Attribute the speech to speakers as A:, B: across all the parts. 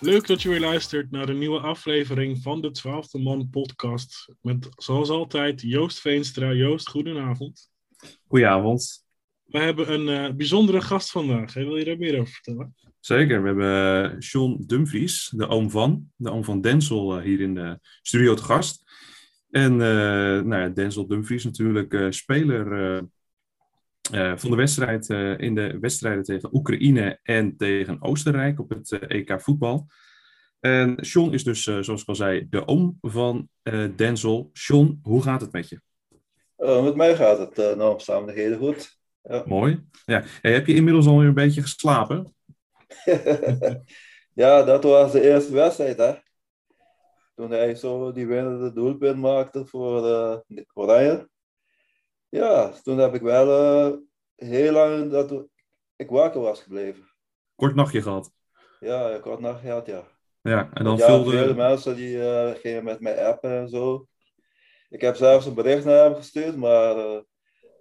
A: Leuk dat je weer luistert naar de nieuwe aflevering van de Twaalfde Man podcast. Met zoals altijd Joost Veenstra. Joost, goedenavond.
B: Goedenavond.
A: We hebben een eh, bijzondere gast vandaag. hè? Wil je daar meer over vertellen?
B: Zeker, we hebben John Dumfries, de oom van, de oom van Denzel, eh, hier in de studio te gast. En eh, nou ja, Denzel Dumfries natuurlijk eh, speler eh, eh, van de wedstrijd eh, in de wedstrijden tegen Oekraïne en tegen Oostenrijk op het eh, EK voetbal. En John is dus, eh, zoals ik al zei, de oom van eh, Denzel. John, hoe gaat het met je?
C: Eh, met mij gaat het eh naar omstandigheden goed.
B: Mooi. Ja. Hey, heb je inmiddels alweer een beetje geslapen?
C: ja, dat was de eerste wedstrijd, hè. Toen hij zo die winnende doelpunt maakte voor eh, Oranje. Ja, toen heb ik wel eh, heel lang dat ik wakker was gebleven.
B: Kort nachtje gehad.
C: Ja, ik had nacht gehad, ja.
B: Ja, en dan
C: ja,
B: vulde...
C: vele mensen die eh, gingen met mij appen en zo. Ik heb zelfs een bericht naar hem gestuurd, maar eh,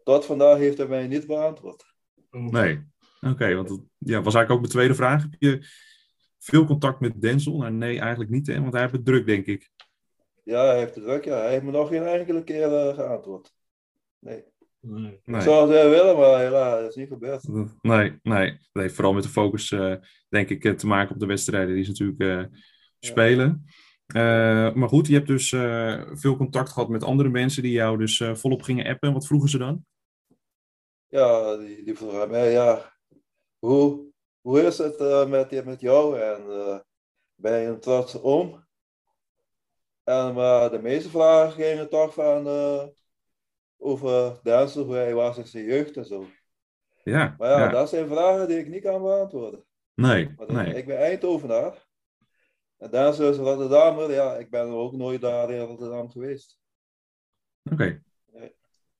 C: tot vandaag heeft hij mij niet beantwoord.
A: Oh,
B: Nee. Oké, want dat ja, was eigenlijk ook mijn tweede vraag. Heb je veel contact met Denzel? Nou, nee, eigenlijk niet, hè, want hij heeft het druk, denk ik.
C: Ja, hij heeft het druk, ja. Hij heeft me nog geen enkele keer eh, geantwoord. Nee.
A: nee.
B: Nee.
C: Ik zou het wel willen, maar helaas, dat is niet gebeurd.
B: Nee, nee. Dat heeft vooral met de focus, eh, denk ik, eh, te maken op de wedstrijden die ze natuurlijk eh, spelen. Eh, maar goed, je hebt dus eh, veel contact gehad met andere mensen die jou dus eh, volop gingen appen. En wat vroegen ze dan?
C: Ja, die, die vroeg aan mij, ja, hoe, hoe is het eh, met, met jou en eh, ben je een trotse oom? En maar de meeste vragen gingen toch van eh, over dansen, hoe hij was in zijn jeugd en zo.
B: Ja,
C: Maar ja,
B: ja.
C: dat zijn vragen die ik niet kan beantwoorden.
B: nee,
C: Want
B: nee.
C: Ik ben Eindhovenaar. En daar is Rotterdam, ja, ik ben ook nooit daar in Rotterdam geweest.
B: Oké.
C: Nee.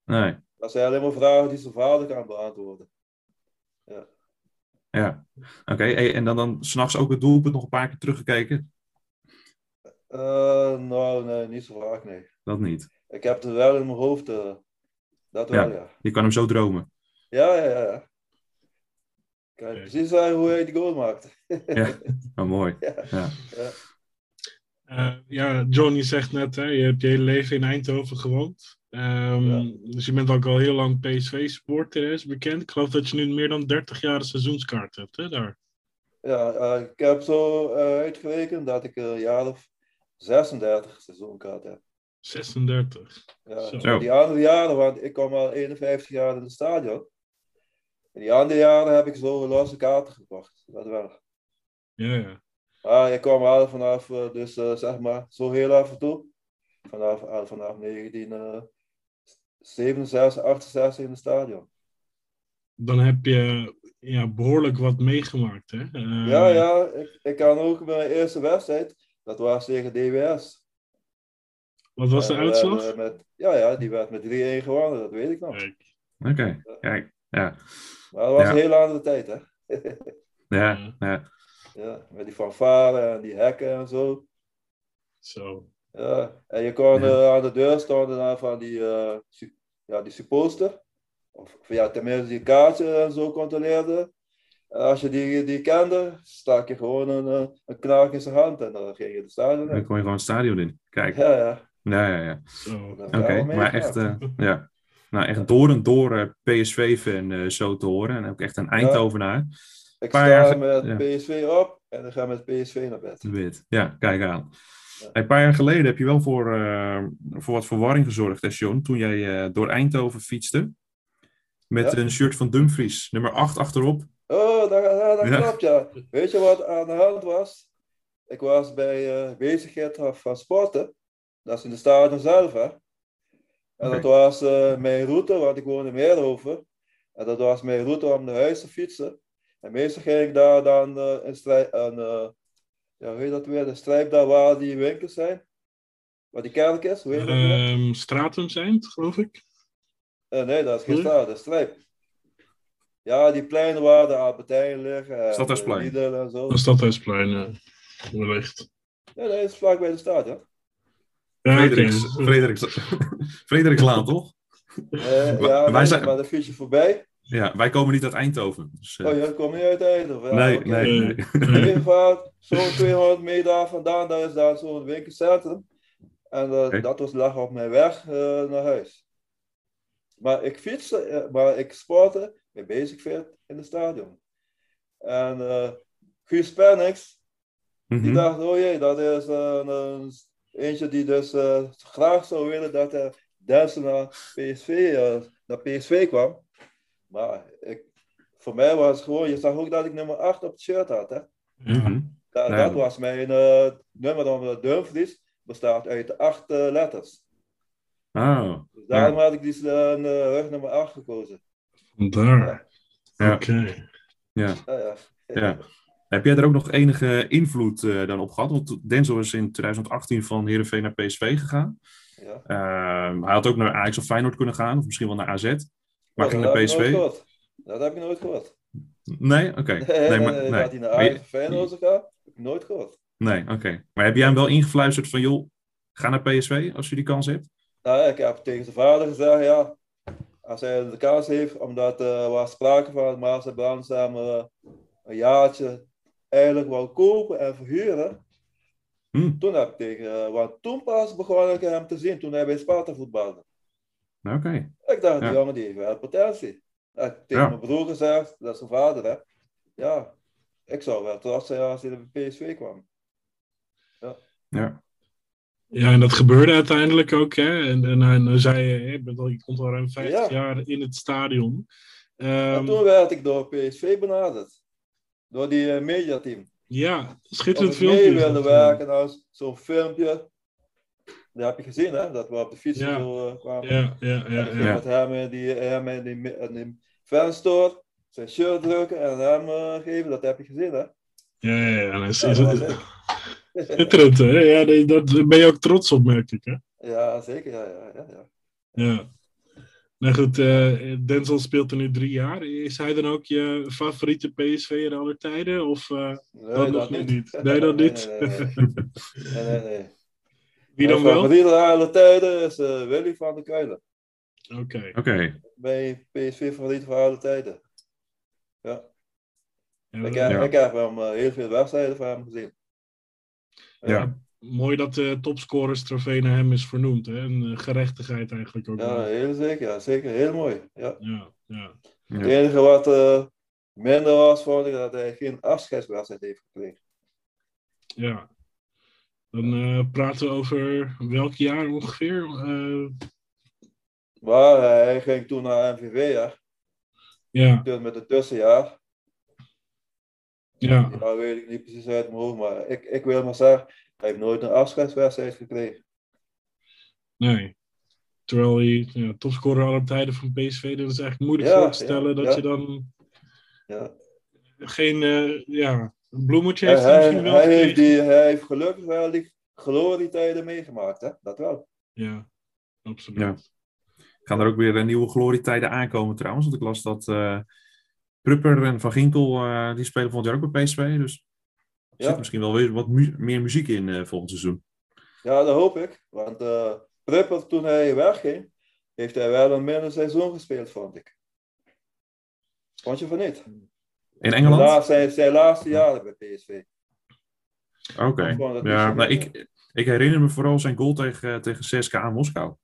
B: Nee,
C: Dat zijn alleen maar vragen die zijn vader kan beantwoorden.
B: ja. Oké, hey, en dan, dan s'nachts ook het doelpunt nog een paar keer teruggekeken?
C: Eh, nou, nee, niet zo vaak, nee.
B: Dat niet.
C: Ik heb het wel in mijn hoofd. eh, dat wel, ja.
B: Je kan hem zo dromen.
C: Ja, ja, ja. ja. Ik kan je
A: Oké.
C: precies zeggen hoe hij die goal maakte.
B: Ja, oh, mooi. Ja.
A: Eh, ja, Johnny zegt net, hè, je hebt je hele leven in Eindhoven gewoond. Ehm,
C: Ja.
A: Dus je bent ook al heel lang PSV-supporter, is bekend. Ik geloof dat je nu meer dan 30 jaar een seizoenskaart hebt, hè, daar.
C: Ja, eh, ik heb zo eh, uitgerekend dat ik eh, een jaar of 36 seizoenkaart heb.
A: 36. Zo.
C: Ja,
B: Zo.
C: die andere jaren, want ik kom al 51 jaar in het stadion. En die andere jaren heb ik zo losse kaarten gekocht. Dat wel.
A: Ja, ja.
C: Maar Ah, ik kwam al vanaf, eh, dus eh, zeg maar, zo heel af en toe. Vanaf, al vanaf 1967, 68 in het stadion.
A: Dan heb je ja, behoorlijk wat meegemaakt, hè? Eh,
C: Ja, ja, ik, ik kan ook mijn eerste wedstrijd. Dat was tegen DWS.
A: Wat was de
C: En we
A: uitslag?
C: hebben Met, ja, ja, die werd met 3-1 gewonnen, dat weet ik nog.
A: Kijk.
B: Oké, kijk. Ja,
C: Maar dat was
B: Ja.
C: een hele andere tijd, hè.
A: eh,
B: ja, ja.
C: Ja, met die fanfare en die hekken en zo.
A: Zo.
C: Ja, en je kon
B: Ja.
C: eh, aan de deur stonden dan van die, eh, su- ja, die supposter. Of of ja, tenminste die kaartje en zo controleerde. En als je die, die kende, stak je gewoon een, eh, een knaak in zijn hand en dan ging je de stadion
B: dan
C: in.
B: kom je gewoon het stadion in. Kijk,
C: Ja, ja.
B: ja, ja, ja.
A: zo.
C: dat
B: Oké,
C: hebben we allemaal
B: maar echt,
C: meegemaakt.
B: eh, ja. Nou, echt door en door eh, PSV-fan eh, zo te horen. En ook echt een Eindhovenaar.
C: Ik
B: paar
C: sta
B: jaar-
C: met
B: ja.
C: PSV op en dan ga ik met PSV naar bed.
B: De Wit. Ja, kijk aan.
C: Ja.
B: Hey, Een paar jaar geleden heb je wel voor, eh, voor wat verwarring gezorgd, hè, John, Toen jij eh, door Eindhoven fietste. Met
C: Ja.
B: een shirt van Dumfries, nummer 8 achterop.
C: Oh, dat, dat, dat
B: Ja.
C: klopt, ja. Weet je wat aan de hand was? Ik was bij eh bezigheid van- van sporten. Dat is in de stadion zelf, hè. En dat
B: Oké.
C: was eh, mijn route, want ik woonde in Meerhoven. En dat was mijn route om naar huis te fietsen. En meestal ging ik daar dan eh, een strij- een, eh, ja, hoe heet dat weer? De strijp daar waar die winkels zijn. Waar die kerk is, hoe heet dat weer?
B: Eh,
A: Ehm Stratum zijn, het, geloof ik.
C: Eh, nee, dat
B: hm?
C: is geen
A: Hoe?
C: straat, dat is strijp. Ja, die pleinen waar de Albertijn liggen. en
B: Stadhuisplein.
C: de Lidl en zo.
B: Oh,
A: Een stadhuisplein, eh, wellicht.
C: Ja, dat is vlak bij de stadion.
A: Ja,
B: Frederiks,
A: oké.
B: Frederiks, Frederikslaan, toch?
C: Eh,
B: Wa-
C: ja,
B: wij
C: nee,
B: zijn-
C: maar dan fiets je voorbij.
B: Ja, wij komen niet uit Eindhoven. Dus, eh,
C: Oh, jij komt niet uit Eindhoven?
B: nee,
C: oké.
B: nee,
A: Eh,
B: nee.
C: In
A: Nee.
C: ieder geval, zo'n 200 meter daar vandaan, daar is daar zo'n winkelcentrum. En eh,
B: Oké.
C: dat was lag op mijn weg eh, naar huis. Maar ik fietste, eh, maar ik sportte met basic fit in het stadion. En eh Guus Pennings, die
B: Mhm.
C: dacht, oh jee, dat is een, een eentje die dus eh, graag zou willen dat hij Densen naar PSV, eh, naar PSV kwam. Maar ik, voor mij was het gewoon, je zag ook dat ik nummer 8 op het shirt had. Hè?
A: Ja.
B: Mhm.
C: Da-
B: Ja.
C: Dat was mijn eh, nummer dan de Dumfries, bestaat uit acht eh, letters.
B: Oh,
C: Dus daarom had ik die eh, rug nummer 8 gekozen.
A: Vandaar.
B: Ja.
A: Oké.
B: ja.
C: Ja, ja.
B: Ja. Heb jij daar ook nog enige invloed eh, dan op gehad? Want Denzel is in 2018 van Heerenveen naar PSV gegaan.
C: Ja.
B: Ehm, hij had ook naar Ajax of Feyenoord kunnen gaan, of misschien wel naar AZ. Maar
C: Oh,
B: ging
C: dat
B: naar
C: heb ik nooit
B: PSV?
C: gehoord. Dat heb ik nooit gehoord.
B: Nee? Oké. Nee, maar, nee.
C: Dat
B: Maar
C: hij naar
B: je-
C: Ajax of Feyenoord zou gaan, heb ik nooit gehoord.
B: nee, oké. Maar heb jij hem wel ingefluisterd van, joh, ga naar PSV als je die kans hebt?
C: Nou, ik heb tegen zijn vader gezegd, ja, als hij de kans heeft, omdat eh, er was sprake van Maas en Brands hem eh, een jaartje eigenlijk wou kopen en verhuren.
B: Hm.
C: Toen heb ik tegen, eh, want toen pas begon ik hem te zien, toen hij bij Sparta voetbalde.
B: Nou, Oké.
C: Ik dacht, die
B: Ja.
C: jongen die heeft wel potentie. Ik heb tegen
B: Ja.
C: mijn broer gezegd, dat is zijn vader, hè. Ja, ik zou wel trots zijn als hij naar PSV kwam.
A: Ja, en dat gebeurde uiteindelijk ook. Hè? En, en, en dan zei eh, je, hè, je, bent al, je komt al ruim 50
C: Ja.
A: jaar in het stadion.
C: en
A: Ehm,
C: toen werd ik door PSV benaderd. Door die eh, mediateam.
A: ja,
C: Of
A: schitterend
C: ik mee
A: filmpje. is
C: wilde
A: dat,
C: werken, nou, zo'n filmpje. Dat heb je gezien, hè? Dat we op de fiets
A: Ja.
C: zo eh, kwamen.
A: Ja, ja,
C: En
A: ja.
C: ik
A: ja,
C: ging met hem in die, hem in die, in die fanstore, zijn shirt drukken en hem eh, geven. Dat heb je gezien, hè?
A: ja, ja, ja, dat is-
C: Ja,
A: is-
C: dat was ik.
A: schitterend, hè? Ja, nee, daar ben je ook trots op, merk ik. Hè?
C: Ja, zeker, ja, ja, ja. ja.
A: Ja. Nou goed, eh, Denzel speelt er nu drie jaar. Is hij dan ook je favoriete PSV'er aller tijden? Of eh,
C: Nee,
A: Dat nog niet. Nee, dat niet.
C: Nee, nee, nee. nee, nee, nee.
A: wie dan
C: Mijn
A: wel? Oké.
C: favoriete alle tijden is eh, Willy van der Kuilen.
B: Oké.
C: Mijn PSV favoriet van alle tijden.
A: Ja,
C: Ik
A: dat-
C: heb, ik heb hem eh, heel veel wedstrijden van hem gezien.
B: Ja.
A: Mooi dat de topscorers trofee naar hem is vernoemd. Hè? En eh, gerechtigheid eigenlijk ook.
C: Ja,
A: wel.
C: heel zeker. Ja, zeker. Heel mooi. Ja.
A: ja, ja.
B: Ja.
C: Het enige wat eh, minder was, vond ik dat hij geen afscheidswedstrijd heeft gekregen.
A: ja. Dan eh, praten we over welk jaar ongeveer? Eh,
C: Maar hij ging toen naar MVV, ja.
A: ja,
C: Toen met het tussenjaar.
A: ja.
C: Ja, weet ik niet precies uit mijn hoofd, maar ik, ik wil maar zeggen, hij heeft nooit een afscheidswedstrijd gekregen.
A: Nee. Terwijl hij ja, topscorer aller tijden van PSV, dat dus is eigenlijk moeilijk
C: Ja,
A: voor te stellen
C: ja,
A: dat
C: ja.
A: je dan
C: Ja.
A: geen eh, ja, een bloemetje
C: Hij,
A: heeft. hij
C: hij,
A: misschien wel
C: hij heeft
A: gekregen.
C: die, hij heeft gelukkig wel die glorietijden meegemaakt, hè? dat wel.
A: Ja, absoluut.
B: Ja. Gaan er ook weer eh, nieuwe glorietijden aankomen trouwens. Want ik las dat eh Prupper en Van Ginkel, eh, die spelen volgend jaar ook bij PSV. Dus er
C: Ja.
B: zit misschien wel weer wat mu- meer muziek in eh, volgend seizoen.
C: Ja, dat hoop ik. Want eh Prupper, toen hij wegging, heeft hij wel een minder seizoen gespeeld, vond ik. Vond je van niet?
B: In
C: Zijn
B: Engeland?
C: laatste, zijn, zijn laatste jaren bij PSV.
B: Oké.
C: Ik vond dat eh,
B: Ja,
C: niet-
B: maar ik, ik herinner me vooral zijn goal tegen, eh, tegen CSKA Moskou.
C: Oh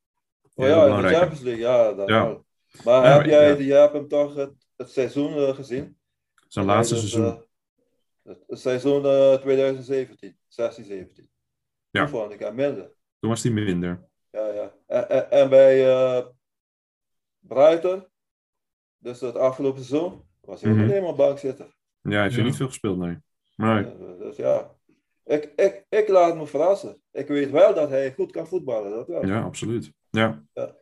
B: Heel
C: ja, in de
B: belangrijk.
C: Champions League, ja, dat
B: Ja.
C: wel. Maar
B: Ja,
C: heb
B: maar-
C: jij,
B: ja.
C: je hebt hem toch het, het seizoen eh, gezien?
B: Zijn laatste
C: Dat, eh,
B: seizoen.
C: het, het seizoen eh, 2017, 16, 17.
B: Ja.
C: Toen vond ik hem minder.
B: Toen was hij minder.
C: Ja, ja. En, en, en bij eh Brighton, dus het afgelopen seizoen, was hij ook
B: Mhm.
C: alleen maar bank zitten.
B: Ja, heeft
A: Ja.
B: hij niet veel gespeeld, nee. Maar
C: Dus ja, ik, ik, ik laat me verrassen. Ik weet wel dat hij goed kan voetballen, dat wel.
B: ja, absoluut. Ja,
A: Ja,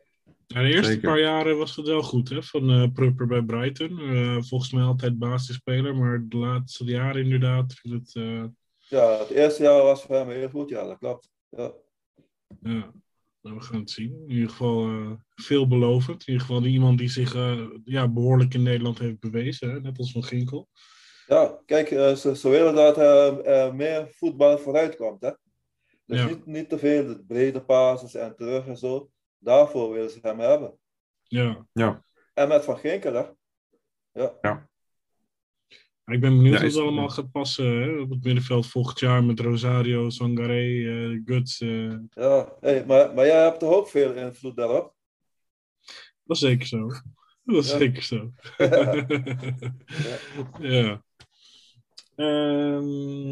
A: de eerste
B: Zeker.
A: paar jaren was het wel goed hè, van eh Prupper bij Brighton. Eh, volgens mij altijd basisspeler, maar de laatste jaren inderdaad viel het. eh,
C: Ja, het eerste jaar was voor hem heel goed, ja, dat klopt. Ja,
A: ja. Nou, we gaan het zien. In ieder geval eh, veelbelovend. In ieder geval iemand die zich eh, ja, behoorlijk in Nederland heeft bewezen, hè, net als Van Ginkel.
C: ja kijk, eh, ze, ze willen dat er eh, meer voetbal vooruit komt, hè. Dus
A: Ja.
C: niet, niet te veel de brede passes en terug en zo. Daarvoor willen ze hem hebben.
A: Ja,
C: En met Van Ginkel, hè. Ja.
B: Ja.
A: Ik ben benieuwd
B: Ja,
A: hoe het
B: is-
A: allemaal gaat passen hè, op het middenveld volgend jaar met Rosario, Sangaré, eh Guts. eh,
C: ja. Hey, maar, maar jij hebt toch ook veel invloed daarop?
A: dat is zeker zo. Dat is
C: Ja.
A: zeker zo. ja. Ehm,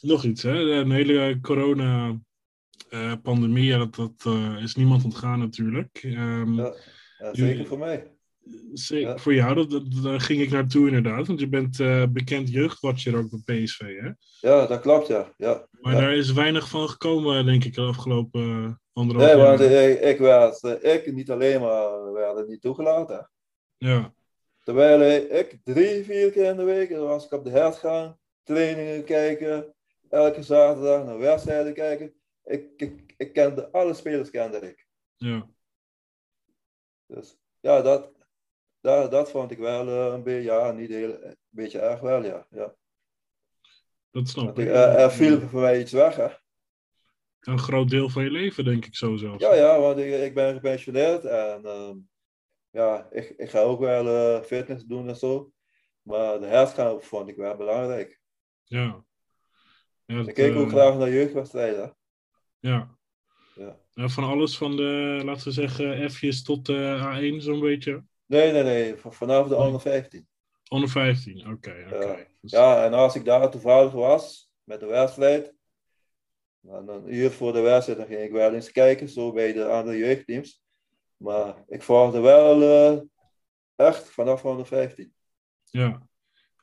A: nog iets, hè? Een hele corona-pandemie, ja, dat, dat eh, is niemand ontgaan natuurlijk. Ehm,
C: Ja. Ja, zeker voor mij.
A: zeker
C: Ja.
A: Voor jou, dat, dat- daar ging ik naartoe inderdaad, want je bent eh, bekend jeugdwatcher ook bij PSV, hè?
C: Ja, dat klopt, ja. ja.
A: Maar
C: Ja.
A: daar is weinig van gekomen, denk ik, de afgelopen eh, anderhalf
C: Nee,
A: jaar.
C: want ik, ik werd, eh, ik niet alleen maar, werd niet toegelaten.
A: Ja,
C: Terwijl eh, ik drie, vier keer in de week dan was ik op de hertgang, trainingen kijken, elke zaterdag naar wedstrijden kijken. Ik, ik, ik kende alle spelers, kende ik.
A: ja.
C: Dus ja, dat, dat, dat vond ik wel eh, een beetje, ja, niet heel, een beetje erg wel, ja. ja.
A: Dat snap
C: Want
A: ik.
C: ik, eh, er viel voor mij iets weg, hè.
A: Een groot deel van je leven, denk ik zo zelfs.
C: Ja, ja, want ik, ik ben gepensioneerd en ehm, ja, ik, ik ga ook wel eh, fitness doen en zo. Maar de hertgang vond ik wel belangrijk.
A: Ja. Ja, dat,
C: Ik keek ook
A: eh,
C: graag naar jeugdwedstrijden.
A: Ja.
C: Ja.
A: Ja, van alles, van de, laten we zeggen, F'jes tot eh A1 zo'n beetje.
C: Nee, nee, nee. v- Vanaf de
A: Nee.
C: onder 15.
A: Onder 15, oké, oké. Dus-
C: Ja, en als ik daar toevallig was met de wedstrijd, dan een uur voor de wedstrijd, dan ging ik wel eens kijken, zo bij de andere jeugdteams. Maar ik volgde wel eh, echt vanaf onder 15.
A: ja.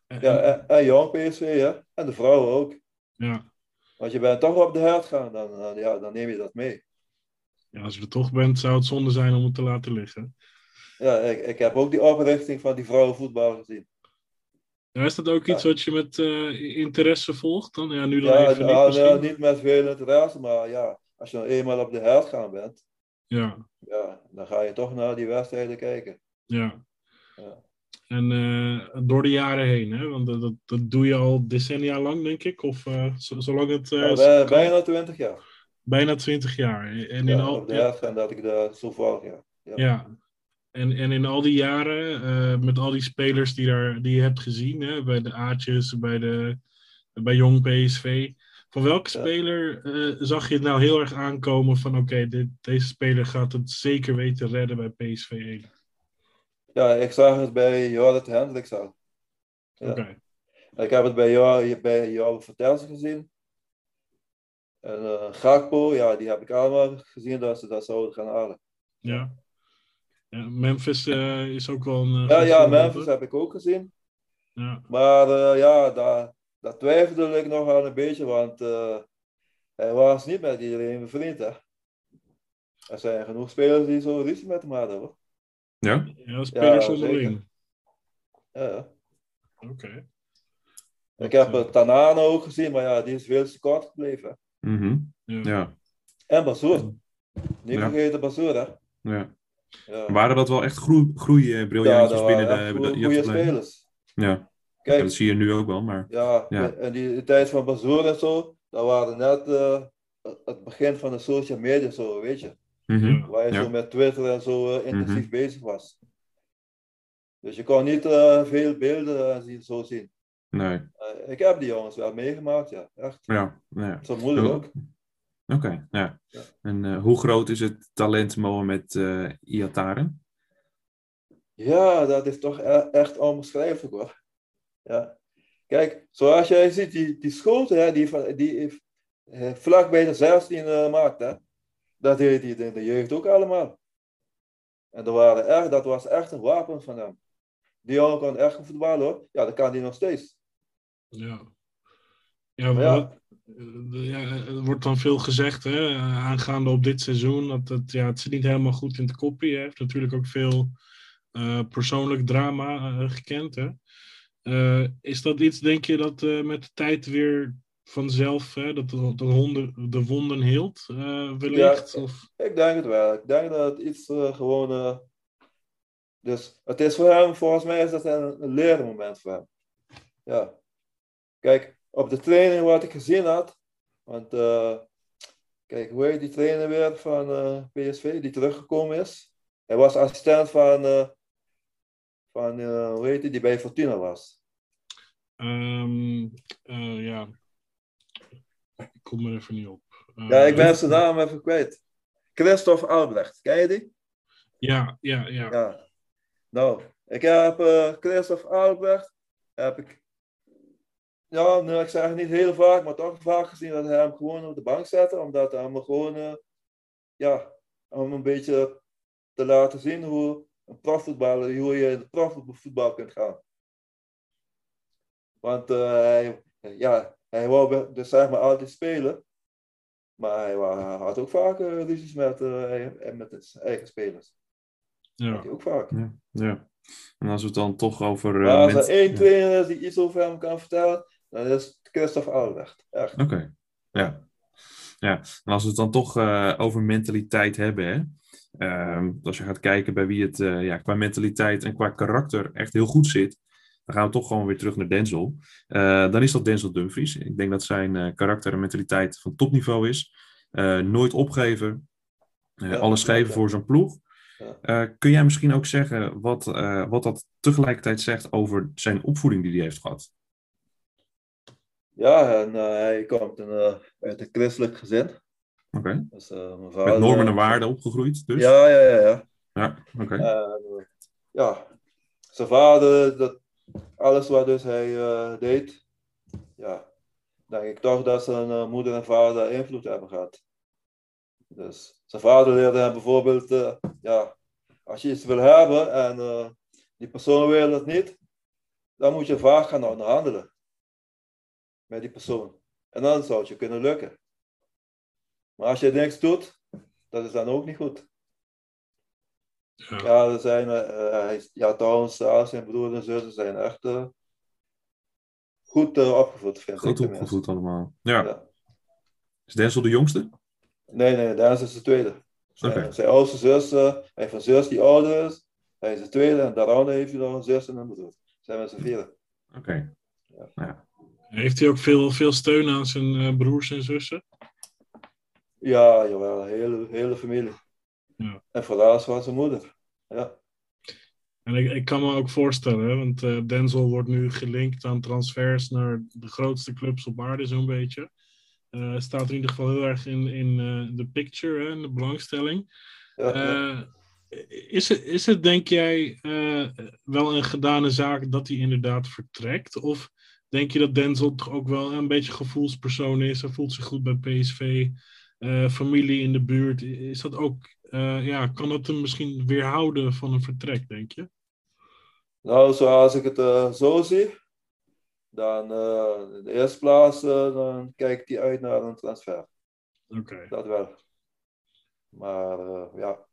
A: En-
C: Ja, eh. en, en jong PSV, ja. En de vrouwen ook.
A: ja.
C: Want je bent toch op de hert gaan, dan, dan- ja, dan neem je dat mee.
A: Ja, als je er toch bent, zou het zonde zijn om het te laten liggen.
C: Ja, ik, ik heb ook die oprichting van die vrouwenvoetbal gezien.
A: Ja, is dat ook iets wat je met eh, interesse volgt dan? Ja, nu
C: Ja,
A: live even niet
C: nou,
A: misschien.
C: nou, niet met veel interesse, maar ja, als je nou eenmaal op de hert gaan bent,
A: Ja.
C: Ja, dan ga je toch naar die wedstrijden kijken.
A: Ja.
C: Ja.
A: En eh, door de jaren heen, hè? want eh, dat, dat, dat doe je al decennia lang, denk ik. Of eh, zo- zolang het eh,
C: Al bij-
A: kan.
C: bijna 20 jaar.
A: bijna twintig jaar. En in
C: Ja,
A: al,
C: op de
A: ja,
C: wedstrijd dat ik daar zo volg, ja.
A: ja. En, en in al die jaren, eh, met al die spelers die, daar, die je hebt gezien, hè? bij de A'tjes, bij, de, bij Jong PSV. Van welke
C: Ja.
A: speler eh, zag je het nou heel erg aankomen van oké, dit- deze speler gaat het zeker weten redden bij PSV 1?
C: Ja, ik zag het bij Jorrit Hendricks al. Ja.
A: Oké,
C: Ik heb het bij jou, bij jou vertels gezien. En eh, Gakpo, ja, die heb ik allemaal gezien dat ze dat zouden gaan halen.
A: ja. Ja, Memphis eh, is ook wel een... eh,
C: Ja,
A: goed
C: ja,
A: voorbeeld,
C: Memphis heb ik ook gezien.
A: Ja,
C: Maar eh, ja, daar, daar twijfelde ik nog aan een beetje, want eh, hij was niet met iedereen bevriend, hè. Er zijn genoeg spelers die zo ruzie met hem hadden, hoor.
B: Ja?
A: ja spelers
C: Ja,
A: onderling.
C: Ja, ja.
A: Oké.
C: Ik
A: Dat,
C: heb
A: eh,
C: uh, Tanane ook gezien, maar ja, die is veel te kort gebleven.
B: Mhm.
A: ja.
B: ja.
C: En Bazoer. Niet
B: Ja.
C: vergeten Bazoer, hè?
B: ja.
C: Ja,
B: Waren dat wel echt groei, groeibriljantjes
C: eh, dat
B: binnen
C: waren echt
B: de...
C: goede,
B: de-
C: goede
B: de-
C: spelers.
B: Ja. Ja,
C: Kijk,
B: dat zie je nu ook wel, maar...
C: ja,
B: Ja.
C: en die, die tijd van Bazoer en zo, dat waren net eh, het begin van de social media, zo, weet je.
B: Mhm.
A: Ja.
C: Waar je
B: Ja.
C: zo met Twitter en zo eh, intensief bezig was. Dus je kon niet eh, veel beelden en zien, zo zien.
B: Nee.
C: Eh, ik heb die jongens wel meegemaakt, ja, echt.
B: Ja. ja.
C: Zo moeilijk ook.
B: Oké, ja.
C: Ja.
B: En eh, hoe groot is het talent Mohamed eh Iatare?
C: Ja, dat is toch e- echt onbeschrijfelijk hoor. Ja. Kijk, zoals jij ziet, die, die schoten hè, die, van- die eh, vlak bij de 16 eh, maakt, hè, dat deed hij in de jeugd ook allemaal. En er waren echt, dat was echt een wapen van hem. Die jongen kon echt goed voetballen hoor. Ja, dat kan hij nog steeds.
A: Ja. Ja,
C: Maar ja.
A: wat- eh, ja, er wordt dan veel gezegd hè, aangaande op dit seizoen. Dat het, ja, het zit niet helemaal goed in het koppie. Hij heeft natuurlijk ook veel eh, persoonlijk drama eh, gekend. Hè. Eh, is dat iets, denk je, dat eh, met de tijd weer vanzelf, hè, dat de, de, honden, de wonden hield, eh, wellicht?
C: Ja.
A: Of,
C: Ik denk het wel. Ik denk dat het iets eh, gewoon. eh, dus het is voor hem, volgens mij is dat een, een leermoment voor hem. Ja. Kijk, op de training wat ik gezien had. Want eh, kijk, hoe heet die trainer weer van eh, PSV die teruggekomen is? Hij was assistent van, eh, van, eh, hoe heet die, die bij Fortuna was.
A: Ehm, eh, ja. Ik kom er even niet op. Eh,
C: Ja, ik ben zijn naam even kwijt. Christophe Albrecht, ken je die?
A: Ja, ja, ja.
C: Ja. Nou, ik heb eh Christophe Albrecht, heb ik, ja, nou, ik zeg niet heel vaak, maar toch vaak gezien dat hij hem gewoon op de bank zette, omdat hij hem gewoon, eh, ja, om een beetje te laten zien hoe een profvoetballer, hoe je in het profvoetbal kunt gaan. Want eh, hij, ja, hij wou be- dus zeg maar altijd spelen, maar hij wa- had ook vaak eh, ruzies met, eh, met zijn eigen spelers. Had
A: ja.
C: hij ook vaak.
B: Ja. En als we het dan toch over... eh,
C: Maar als
B: mens-
C: er één
B: Ja.
C: trainer is die iets over hem kan vertellen, dan is het Christophe Albrecht. Echt.
B: Oké, ja. Ja, en als we het dan toch eh, over mentaliteit hebben, hè? Ehm, als je gaat kijken bij wie het eh, ja, qua mentaliteit en qua karakter echt heel goed zit, dan gaan we toch gewoon weer terug naar Denzel. Eh, dan is dat Denzel Dumfries. Ik denk dat zijn eh, karakter en mentaliteit van topniveau is. Eh, nooit opgeven, Eh,
C: Ja,
B: alles geven
C: ja.
B: voor zijn ploeg.
C: Ja.
B: Eh, kun jij misschien ook zeggen wat, eh, wat dat tegelijkertijd zegt over zijn opvoeding die hij heeft gehad?
C: Ja, en eh, hij komt een, eh, uit een christelijk gezin.
B: Oké,
C: Dus, eh, mijn
B: met
C: vader-
B: normen en waarden opgegroeid dus?
C: Ja, ja, ja. ja.
B: Ja, oké.
C: En, eh, ja, zijn vader, dat, alles wat dus hij eh, deed, ja, denk ik toch dat zijn eh, moeder en vader invloed hebben gehad. Dus zijn vader leerde hem bijvoorbeeld, eh, ja, als je iets wil hebben en eh, die persoon wil het niet, dan moet je vaak gaan onderhandelen met die persoon. En dan zou het je kunnen lukken. Maar als je niks doet, dat is dan ook niet goed.
A: ja.
C: Ja, er zijn, eh, eh, hij- ja trouwens, eh, zijn broer en zussen zijn echt eh, goed eh, opgevoed, vind ik.
B: Goed
C: tenminste.
B: opgevoed allemaal. Ja.
C: Ja.
B: Is Denzel de jongste?
C: Nee, nee, Dennis is dus de tweede. Zijn,
B: Oké.
C: zijn oudste zus, eh, hij heeft een zus die ouder is, hij is de tweede en daaronder heeft hij nog een zus en een broer. Zijn we z'n vieren.
B: Oké.
A: Heeft hij ook veel, veel steun aan zijn eh, broers en zussen?
C: Ja, jawel, hele, hele familie.
A: Ja.
C: En vooral van zijn moeder. Ja,
A: En ik, ik kan me ook voorstellen, hè, want eh, Denzel wordt nu gelinkt aan transfers naar de grootste clubs op aarde, zo'n beetje. Eh, staat in ieder geval heel erg in, in eh, de picture, hè, in de belangstelling.
C: ja, ja.
A: Eh, is, het, is het, denk jij, eh, wel een gedane zaak dat hij inderdaad vertrekt? Of denk je dat Denzel toch ook wel een beetje gevoelspersoon is? Hij voelt zich goed bij PSV, eh, familie in de buurt. Is dat ook, eh, ja, kan dat hem misschien weerhouden van een vertrek, denk je?
C: Nou, zoals ik het eh, zo zie, dan eh, in de eerste plaats eh, dan kijkt hij uit naar een transfer.
A: Oké.
C: Dat wel. Maar eh, ja.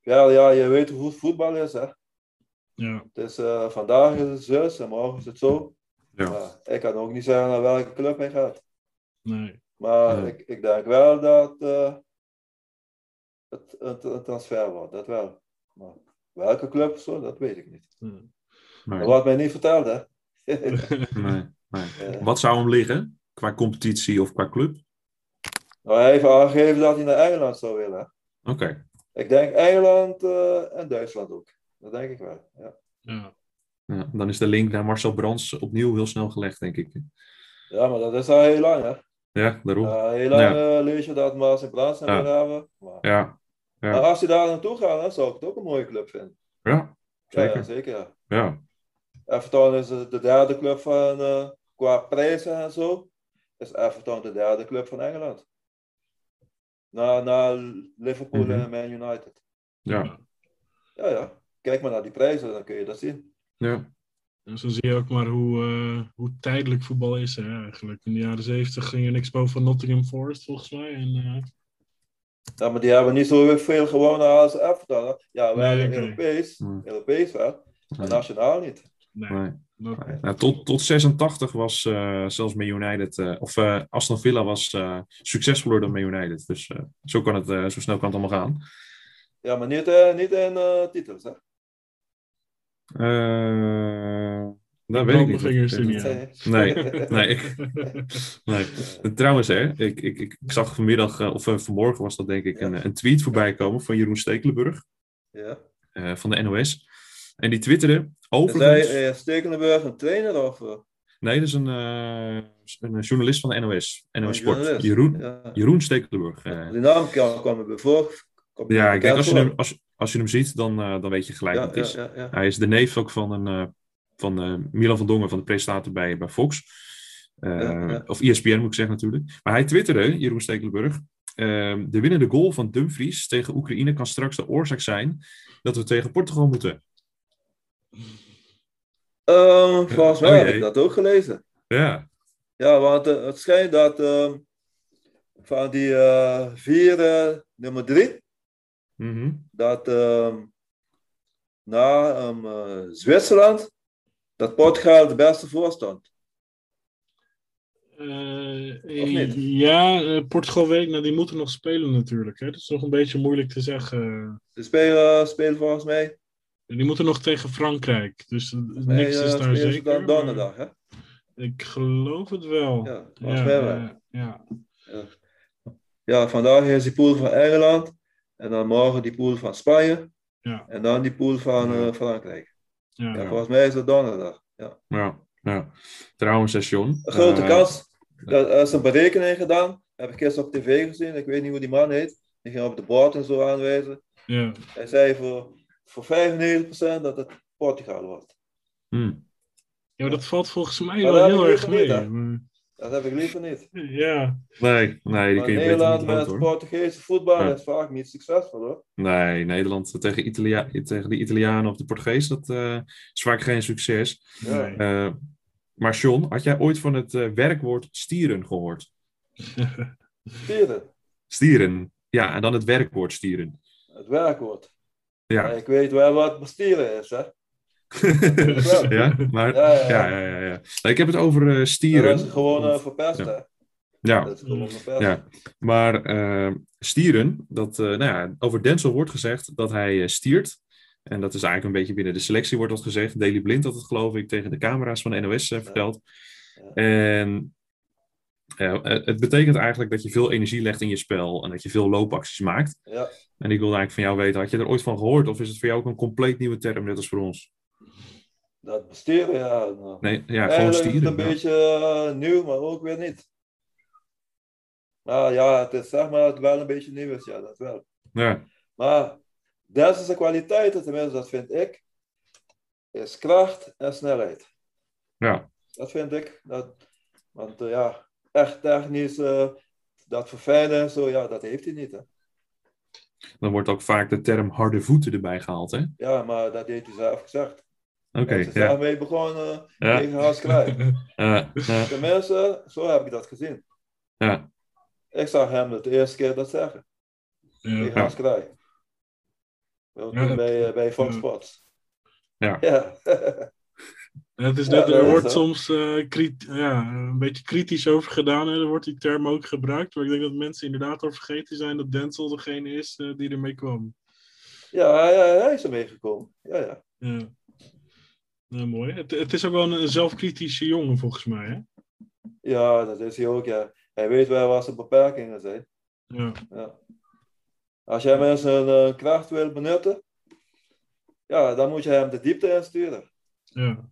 C: ja. Ja, je weet hoe het voetbal is, hè.
A: Ja,
C: Het is, eh, vandaag is het zus en morgen is het zo.
B: Ja.
C: Maar ik kan ook niet zeggen naar welke club hij gaat.
A: nee.
C: Maar
B: Nee.
C: ik, ik denk wel dat eh, het een, een transfer wordt, dat wel. Maar welke club, zo, dat weet ik niet.
A: eh,
B: Nee.
C: Dat wordt mij niet verteld, hè.
B: Nee, nee.
C: Eh,
B: Wat zou hem liggen? Qua competitie of qua club?
C: nou, hij heeft aangegeven dat hij naar Engeland zou willen. hè.
B: Oké.
C: Ik denk Engeland eh, en Duitsland ook. Dat denk ik wel, ja.
A: ja.
B: Ja, dan is de link naar Marcel Brands opnieuw heel snel gelegd, denk ik.
C: Ja, maar dat is al heel lang, hè.
B: Ja, daarom. Ja.
C: Eh, heel lang
B: Ja.
C: eh, lees je dat Maas en Plaats
B: Ja.
C: willen hebben. Maar,
B: Ja, ja.
C: maar als je daar naartoe gaat, dan zou ik het ook een mooie club vinden. Ja,
B: zeker.
C: Ja, zeker. ja.
B: Ja.
C: Everton is eh, de derde club van, eh, qua prijzen en zo, is Everton de derde club van Engeland. Na, na Liverpool
B: Mhm.
C: en Man United.
B: Ja.
C: Ja, ja. Kijk maar naar die prijzen, dan kun je dat zien.
B: ja.
A: Dus dan zie je ook maar hoe, eh, hoe tijdelijk voetbal is hè, eigenlijk. In de jaren zeventig ging er niks boven Nottingham Forest, volgens mij. En, eh,
C: Ja, maar die hebben niet zo veel gewonnen als Everton. hè. Ja, wij
A: Nee, oké.
C: Europees,
B: Hmm.
C: Europees wel, maar
B: Nee,
C: nationaal niet.
A: nee,
B: nee.
A: dat-
B: Nee. Nou, tot, tot 86 was eh, zelfs Man United, eh, of eh, Aston Villa was eh, succesvoller dan Man United. Dus eh, zo, kan het, eh, zo snel kan het allemaal gaan.
C: Ja, maar niet, eh, niet in eh, titels, hè.
B: Eh dat weet ik
A: branden
B: niet.
A: vingers er niet aan.
B: Nee, nee, ik, Nee. En Trouwens, hè, ik, ik, ik ik zag vanmiddag, eh, of eh, vanmorgen was dat denk ik,
C: Ja.
B: een, een tweet voorbij komen van Jeroen Stekelenburg
C: ja.
B: eh, van de NOS. En die twitterde
C: Is hij
B: overigens...
C: eh, Stekelenburg een trainer of eh,
B: Nee, dat is een, eh, een journalist van de NOS.
C: een
B: NOS Sport.
C: journalist?
B: Jeroen,
C: Ja.
B: Jeroen Stekelenburg. eh.
C: Die naam kwam kwam me voor. kwam me
B: ja, ik denk
C: bekend
B: als je
C: voor.
B: hem, als, als je hem ziet, dan, eh, dan weet je gelijk
C: Ja,
B: wat het
C: ja,
B: is.
C: ja, ja.
B: Hij is de neef ook van, een, eh, van eh, Milan van Dongen, van de presentator bij, bij Fox. Eh,
C: Ja, ja.
B: Of ESPN moet ik zeggen natuurlijk. Maar hij twitterde, Jeroen Stekelenburg... eh, de winnende goal van Dumfries tegen Oekraïne kan straks de oorzaak zijn dat we tegen Portugal moeten.
C: Ehm, volgens mij
B: Oh,
C: heb
B: jee.
C: ik dat ook gelezen.
B: Ja,
C: Ja, want eh, het schijnt dat ehm, van die eh, vier, eh, nummer drie,
B: Mhm.
C: dat ehm, na ehm, eh, Zwitserland, dat Portugal de beste voorstand.
A: Eh,
C: Of niet?
A: ja, eh, Portugal weet, nou, die moeten nog spelen natuurlijk. Hè? Dat is nog een beetje moeilijk te zeggen.
C: Ze spelen, eh, spelen volgens mij.
A: Die moeten nog tegen Frankrijk. Dus eh,
C: Nee,
A: niks
C: eh,
A: is daar
C: spelen ze
A: zeker.
C: dan
A: maar
C: donderdag, hè?
A: Ik geloof het wel.
C: Ja, volgens
A: ja,
C: mij wel.
A: ja, ja.
C: Ja, vandaag is die pool van Engeland. En dan morgen die pool van Spanje.
A: Ja.
C: En dan die pool van
B: Ja.
C: eh, Frankrijk.
A: ja.
C: Ja, volgens mij is het donderdag. Ja.
B: Ja, ja. Trouwens, hè, John.
C: Een grote
B: eh,
C: kans. Dat er is een berekening gedaan. Heb ik gisteren op tv gezien. Ik weet niet hoe die man heet. Die ging op de board en zo aanwijzen.
A: Ja.
C: Hij zei voor, voor 95% dat het Portugal wordt.
B: hmm.
A: Ja, maar dat valt volgens mij wel
C: Maar daar
A: heel
C: heb ik
A: erg
C: het
A: mee.
C: niet aan.
A: maar-
C: Dat heb ik liever niet.
A: Ja,
B: Nee, nee, die
C: Maar
B: kun je beter
C: Nederland
B: niet lopen,
C: met het
B: hoor.
C: Portugese voetbal
B: Ja.
C: is vaak niet succesvol hoor.
B: Nee, Nederland tegen, Italia tegen de Italianen of de Portugees, dat eh, is vaak geen succes.
C: Ja.
A: nee.
B: Eh, maar John, had jij ooit van het eh, werkwoord stieren gehoord?
C: Vierde,
B: Stieren. Ja, en dan het werkwoord stieren.
C: het werkwoord.
B: Ja.
C: Ik weet wel wat bestieren is hè. Ja.
B: ja, maar... Ja, ja, ja. ja, Nou, ik heb het over eh, stieren.
C: Dat is gewoon eh, verpest,
B: Ja.
C: hè?
B: ja,
C: Dat is gewoon verpest.
B: Ja, maar eh, stieren, dat, eh, nou ja, over Denzel wordt gezegd dat hij eh, stiert. En dat is eigenlijk een beetje binnen de selectie wordt dat gezegd. Daley Blind had het geloof ik tegen de camera's van de NOS eh, verteld.
C: Ja.
B: En ja, eh, het betekent eigenlijk dat je veel energie legt in je spel en dat je veel loopacties maakt.
C: Ja.
B: En ik wilde eigenlijk van jou weten, had je er ooit van gehoord of is het voor jou ook een compleet nieuwe term, net als voor ons?
C: Dat bestieren, ja. nou.
B: Nee, ja, gewoon
C: Eigenlijk is het
B: stieren.
C: een
B: ja.
C: beetje eh, nieuw, maar ook weer niet. Nou ja, het is zeg maar dat het wel een beetje nieuw is, ja, dat wel.
B: Ja,
C: Maar dat is de kwaliteit, tenminste, dat vind ik, is kracht en snelheid.
B: ja,
C: Dat vind ik. Dat, want eh, ja, echt technisch, eh, dat verfijnen en zo, ja, dat heeft hij niet. Hè.
B: dan wordt ook vaak de term harde voeten erbij gehaald, hè? Oké,
C: Ja, maar dat heeft hij zelf gezegd. Hij is er
B: ja.
C: zelf mee begonnen eh,
B: Ja,
C: tegen Hans Kruijf.
B: eh, ja,
C: Tenminste, zo heb ik dat gezien.
B: ja.
C: Ik zag hem het de eerste keer dat zeggen.
A: Ja.
C: Tegen Hans Kraai. Wel, toen
A: Ja.
C: Bij, eh, bij Fox
A: Ja.
C: Sports.
B: Ja.
C: Ja.
A: Het is
C: Ja,
A: net,
C: dat
A: er
C: is
A: wordt
C: het.
A: soms eh, krit- ja, een beetje kritisch over gedaan. Hè. Er wordt die term ook gebruikt. Maar ik denk dat mensen inderdaad al vergeten zijn dat Denzel degene is eh, die ermee kwam.
C: ja, hij, hij is ermee gekomen. Ja, ja.
A: Ja. Nou, mooi. Het, het is ook wel een, een zelfkritische jongen volgens mij. Hè?
C: ja, dat is hij ook. Ja. Hij weet wel wat zijn beperkingen zijn.
A: Ja.
C: Ja. Als jij mensen een eh, kracht wil benutten, ja, dan moet je hem de diepte insturen.
A: ja.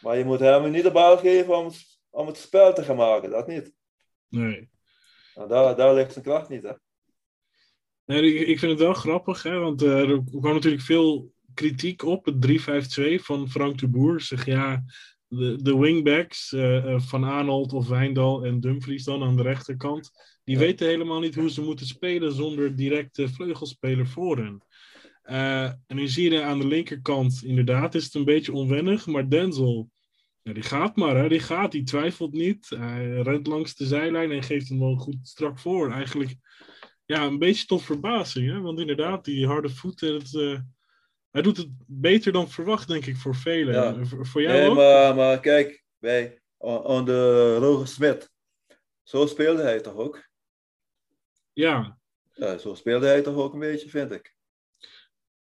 C: Maar je moet hem niet de bal geven om, om het spel te gaan maken. Dat niet.
A: Nee.
C: Nou, daar, daar ligt zijn kracht niet. Hè.
A: Nee, ik, ik vind het wel grappig, hè, want eh, er kwam natuurlijk veel kritiek op het 3-5-2 van Frank de Boer. Zeg ja, de, de wingbacks eh, eh, van Arnold of Wijndal en Dumfries dan aan de rechterkant, die
C: Ja.
A: weten helemaal niet hoe ze moeten spelen zonder directe vleugelspeler voor hen. Eh, en nu zie je aan de linkerkant, inderdaad, is het een beetje onwennig, maar Denzel, ja, die gaat maar, hè, die gaat, die twijfelt niet. Hij rent langs de zijlijn en geeft hem wel goed strak voor. Eigenlijk ja, een beetje tot verbazing. Hè? Want inderdaad, die harde voeten. Het, eh, hij doet het beter dan verwacht, denk ik, voor velen.
C: Ja.
A: Eh, Voor, voor jou
C: Nee,
A: ook?
C: maar, maar kijk, bij on- onder Roger Smit, zo speelde hij toch ook?
A: Ja,
C: Ja, zo speelde hij toch ook een beetje, vind ik.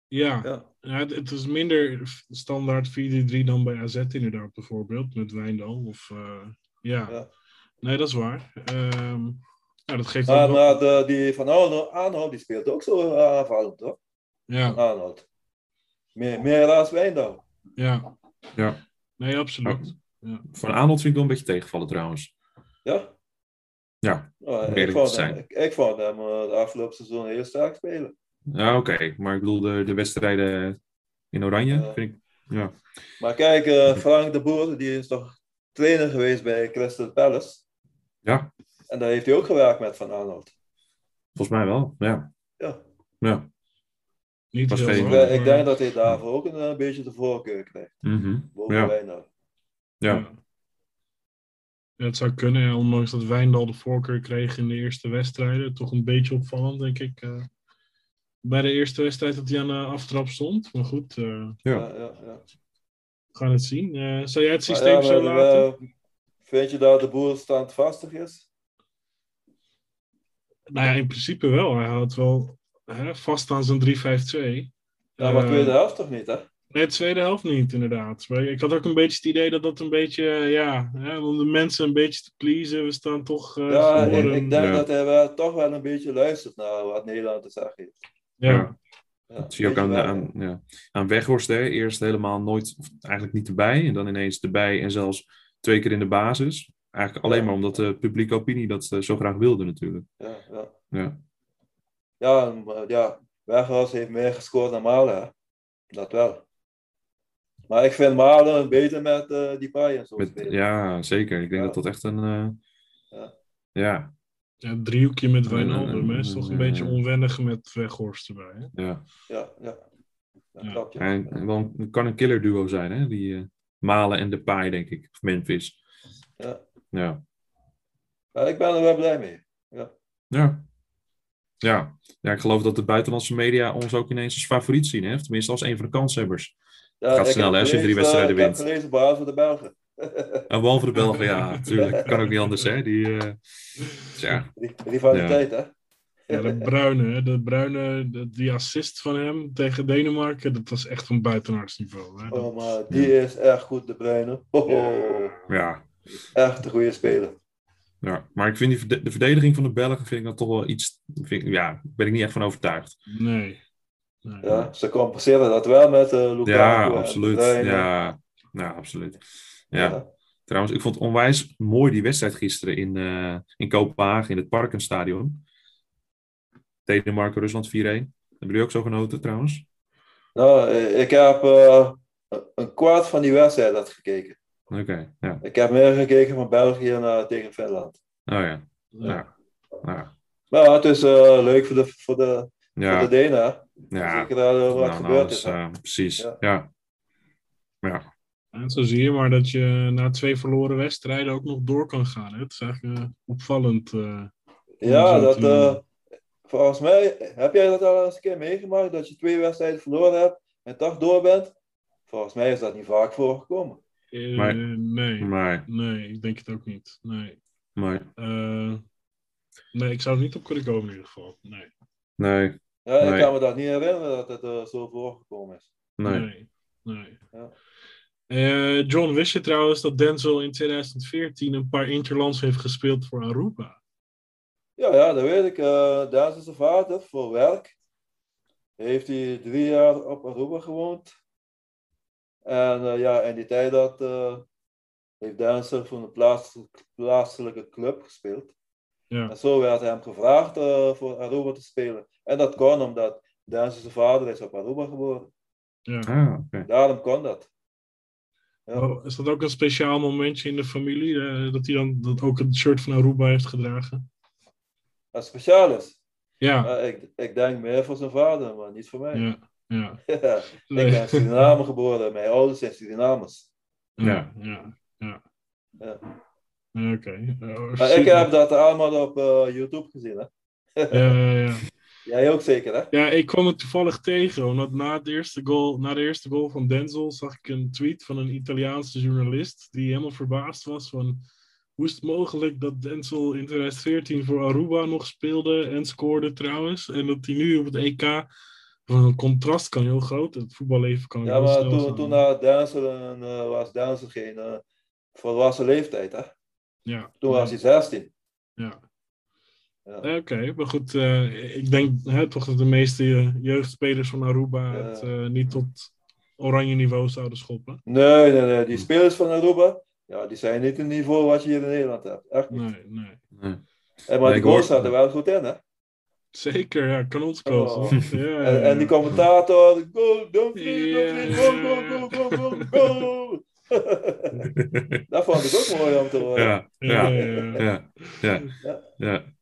A: ja.
C: Ja,
A: Ja, het, het is minder f- standaard 4-3-3 dan bij AZ inderdaad, bijvoorbeeld. Met Wijndal. Of, eh, ja.
C: Ja.
A: nee, dat is waar. Ehm, nou, dat geeft ook
C: maar,
A: wel-
C: maar de, die van Arnold, Arnold die speelt ook zo aanvallend, toch?
A: Ja,
C: Arnold. Meer, meer als wij nou.
A: Ja.
B: Ja.
A: Nee, absoluut.
B: Van Arnold vind ik wel een beetje tegenvallen trouwens.
C: Ja?
B: Ja,
C: Nou,
B: Om
C: ik,
B: eerlijk
C: vond
B: te
C: hem,
B: zijn.
C: ik, ik vond hem eh, de afgelopen seizoen heel sterk spelen.
B: Ja, oké. Maar ik bedoel, de, de wedstrijden in Oranje
C: Ja.
B: vind ik... Ja.
C: Maar kijk, eh, Frank de Boer, die is toch trainer geweest bij Crystal Palace.
B: ja,
C: En daar heeft hij ook gewerkt met Van Arnold.
B: volgens mij wel. Ja,
C: Ja.
B: ja.
A: Niet
B: Was
A: heel
B: geen-
C: Dus ik,
A: hoog,
C: denk- ik
A: maar-
C: denk dat hij daarvoor ook een, eh, beetje de voorkeur krijgt. nou.
B: Mhm.
C: Boven
B: Ja.
C: Wijnald.
B: ja.
A: Ja, het zou kunnen, ja, ondanks dat Wijndal de voorkeur kreeg in de eerste wedstrijden. Toch een beetje opvallend, denk ik. eh, bij de eerste wedstrijd dat hij aan de aftrap stond. Maar goed, eh,
B: Ja.
C: Ja, ja, ja.
A: we gaan het zien. Eh, zou jij het
C: Maar
A: systeem
C: ja,
A: zo
C: maar,
A: laten?
C: eh, vind je dat de boer standvastig is?
A: Nou ja, in principe wel. Hij had wel hè, vast aan zijn 3-5-2.
C: Ja, maar
A: Eh,
C: tweede helft toch niet, hè?
A: Nee, de tweede helft niet, inderdaad. Maar ik had ook een beetje het idee dat dat een beetje, eh, ja, hè, om de mensen een beetje te pleasen. We staan toch. eh,
C: Ja, ik,
A: verloren.
C: ik denk
B: ja.
C: dat hij wel, toch wel een beetje luistert naar wat Nederland te zeggen heeft.
A: ja.
C: Ja,
B: Dat zie je ook
C: weet
B: aan,
C: je wel.
B: aan, ja. aan Weghorst. Hè. Eerst helemaal nooit, of eigenlijk niet erbij. En dan ineens erbij en zelfs twee keer in de basis. Eigenlijk alleen
C: Ja.
B: maar omdat de publieke opinie dat eh, zo graag wilde natuurlijk.
C: Ja, ja.
B: Ja.
C: Ja, en, eh, ja, Weghorst heeft meer gescoord dan Malen. hè. Dat wel. Maar ik vind Malen beter met eh die paai en zo.
B: Met,
C: spelen.
B: ja, zeker. Ik denk
C: Ja.
B: dat dat echt een... eh,
C: Ja.
B: ja,
A: Ja, het driehoekje met Wijnaldum hè, is toch een
B: Eh,
A: beetje onwennig met Weghorst erbij. Hè?
B: ja.
C: ja, ja. Dat
A: Ja.
C: klopt, ja.
B: Hij wel een- kan een killer duo zijn, hè? Die eh, Malen en Depay, denk ik. Of Memphis.
C: Ja.
B: Ja.
C: Maar ik ben er wel blij mee.
B: Ja. Ja. ja, ik geloof dat de buitenlandse media ons ook ineens als favoriet zien. Hè? Of tenminste als een van de kanshebbers.
C: Ja,
B: Gaat
C: ik
B: snel,
C: heb
B: hè, als je drie
C: gelezen- eh,
B: wedstrijden
C: Ik
B: wint.
C: heb gelezen behalve de Belgen.
B: En behalve de Belgen, ja, natuurlijk. Kan ook niet anders, hè? Die, eh, ja.
C: Die Rivaliteit, hè?
A: Ja, de Bruine, hè, de Bruine, de- die assist van hem tegen Denemarken, dat was echt van buitenartsniveau. Hè? Dat-
C: Oh, maar die is echt goed, de Bruyne. Oh,
B: ja,
C: Echt een goede speler.
B: ja. Maar ik vind die, verde- de verdediging van de Belgen vind ik dan toch wel iets... Vind, ik- ja, ben ik niet echt van overtuigd.
A: Nee. nee.
C: Ja, ze compenseren dat wel met eh Lukaku
B: Ja,
C: en
B: absoluut.
C: Bruyne.
B: Ja, ja absoluut. Ja. Trouwens, ik vond het onwijs mooi die wedstrijd gisteren in, eh, in Kopenhagen, in het Parkenstadion. Denemarken, Rusland 4-1. Hebben jullie ook zo genoten trouwens?
C: Nou, eh, ik heb eh, een kwart van die wedstrijd had gekeken.
B: Oké, ja.
C: Ik heb meer gekeken van België naar, tegen Finland.
B: Oh ja. Ja. Ja.
C: Maar het is eh, leuk voor de, voor de, voor de
B: Ja.
C: Denen. hè.
B: ja.
C: Zeker daar eh, wat
B: Nou,
C: gebeurd
B: alles,
C: is. hè.
B: eh, precies.
C: Ja.
B: Ja. Ja. Ja.
A: En zo zie je maar dat je na twee verloren wedstrijden ook nog door kan gaan. Hè? Het is eigenlijk eh, opvallend. eh.
C: ja,
A: om zo
C: dat,
A: te-
C: eh, volgens mij, heb jij dat al eens een keer meegemaakt? Dat je twee wedstrijden verloren hebt en toch door bent? Volgens mij is dat niet vaak voorgekomen.
A: Eh,
B: Maar-
A: nee.
B: Maar,
A: nee, ik denk het ook niet. Nee.
B: maar,
A: Eh, nee, ik zou het niet op kunnen komen in ieder geval. Nee.
B: nee,
C: Ja, ik
B: Nee.
C: kan me dat niet herinneren dat het eh, zo voorgekomen is.
B: nee.
A: Nee. nee.
C: Ja.
A: Eh, John, wist je trouwens dat Denzel in 2014 een paar interlands heeft gespeeld voor Aruba?
C: Ja, ja, dat weet ik. Eh daar is zijn vader voor werk. Heeft hij drie jaar op Aruba gewoond. En eh, ja, in die tijd dat, eh, heeft Dancer voor een plaats, plaatselijke club gespeeld.
A: Ja.
C: En zo werd hem gevraagd eh, voor Aruba te spelen. En dat kon omdat Dancer zijn vader is op Aruba geboren.
A: Ja.
B: Ah, oké.
C: Daarom kon dat. Ja.
A: Oh, is dat ook een speciaal momentje in de familie? eh, dat hij dan dat ook het shirt van Aruba heeft gedragen?
C: Dat speciaal is.
A: Ja,
C: Maar Eh, ik, ik denk meer voor zijn vader, maar niet voor mij.
A: ja, ja.
C: Eh, ik eh, ben in Suriname geboren. Mijn ouders zijn Surinamers.
A: Ja, ja, ja.
C: Ja.
A: Ja, Oké. Eh,
C: Maar ik heb dat allemaal op eh, YouTube gezien, hè?
A: Ja, ja, ja.
C: Jij ook zeker, hè?
A: Ja, ik kwam het toevallig tegen, omdat na, het eerste goal, na de eerste goal van Denzel zag ik een tweet van een Italiaanse journalist die helemaal verbaasd was van hoe is het mogelijk dat Denzel in 2014 voor Aruba nog speelde en scoorde trouwens, en dat hij nu op het E EK, van het contrast kan heel groot, het voetballeven kan
C: Ja,
A: heel
C: maar
A: snel
C: toen,
A: gaan.
C: toen na dansen eh, was dansen geen eh, volwassen leeftijd, hè?
A: ja,
C: Toen
A: ja.
C: was hij 16.
A: Ja.
C: Ja.
A: Oké, maar goed, eh, ik denk hè, toch dat de meeste eh, jeugdspelers van Aruba het eh, niet tot oranje niveau zouden schoppen.
C: Nee, nee, nee. Die spelers van Aruba, ja, die zijn niet het niveau wat je hier in Nederland hebt. Echt niet.
A: Nee, nee.
B: Nee.
C: En maar
B: Nee,
C: die
B: ik hoor-
C: goals zaten wel goed in, hè?
A: Zeker, ja, kanonskogel.
C: Oh.
A: Ja, ja,
C: En, en die
A: ja.
C: commentator, go, Dumfries,
A: Ja.
C: Dumfries, go, go, go, go, go, go. dat vond ik ook mooi om te horen.
B: ja,
A: Ja,
B: ja,
A: ja, ja.
B: ja, ja, ja.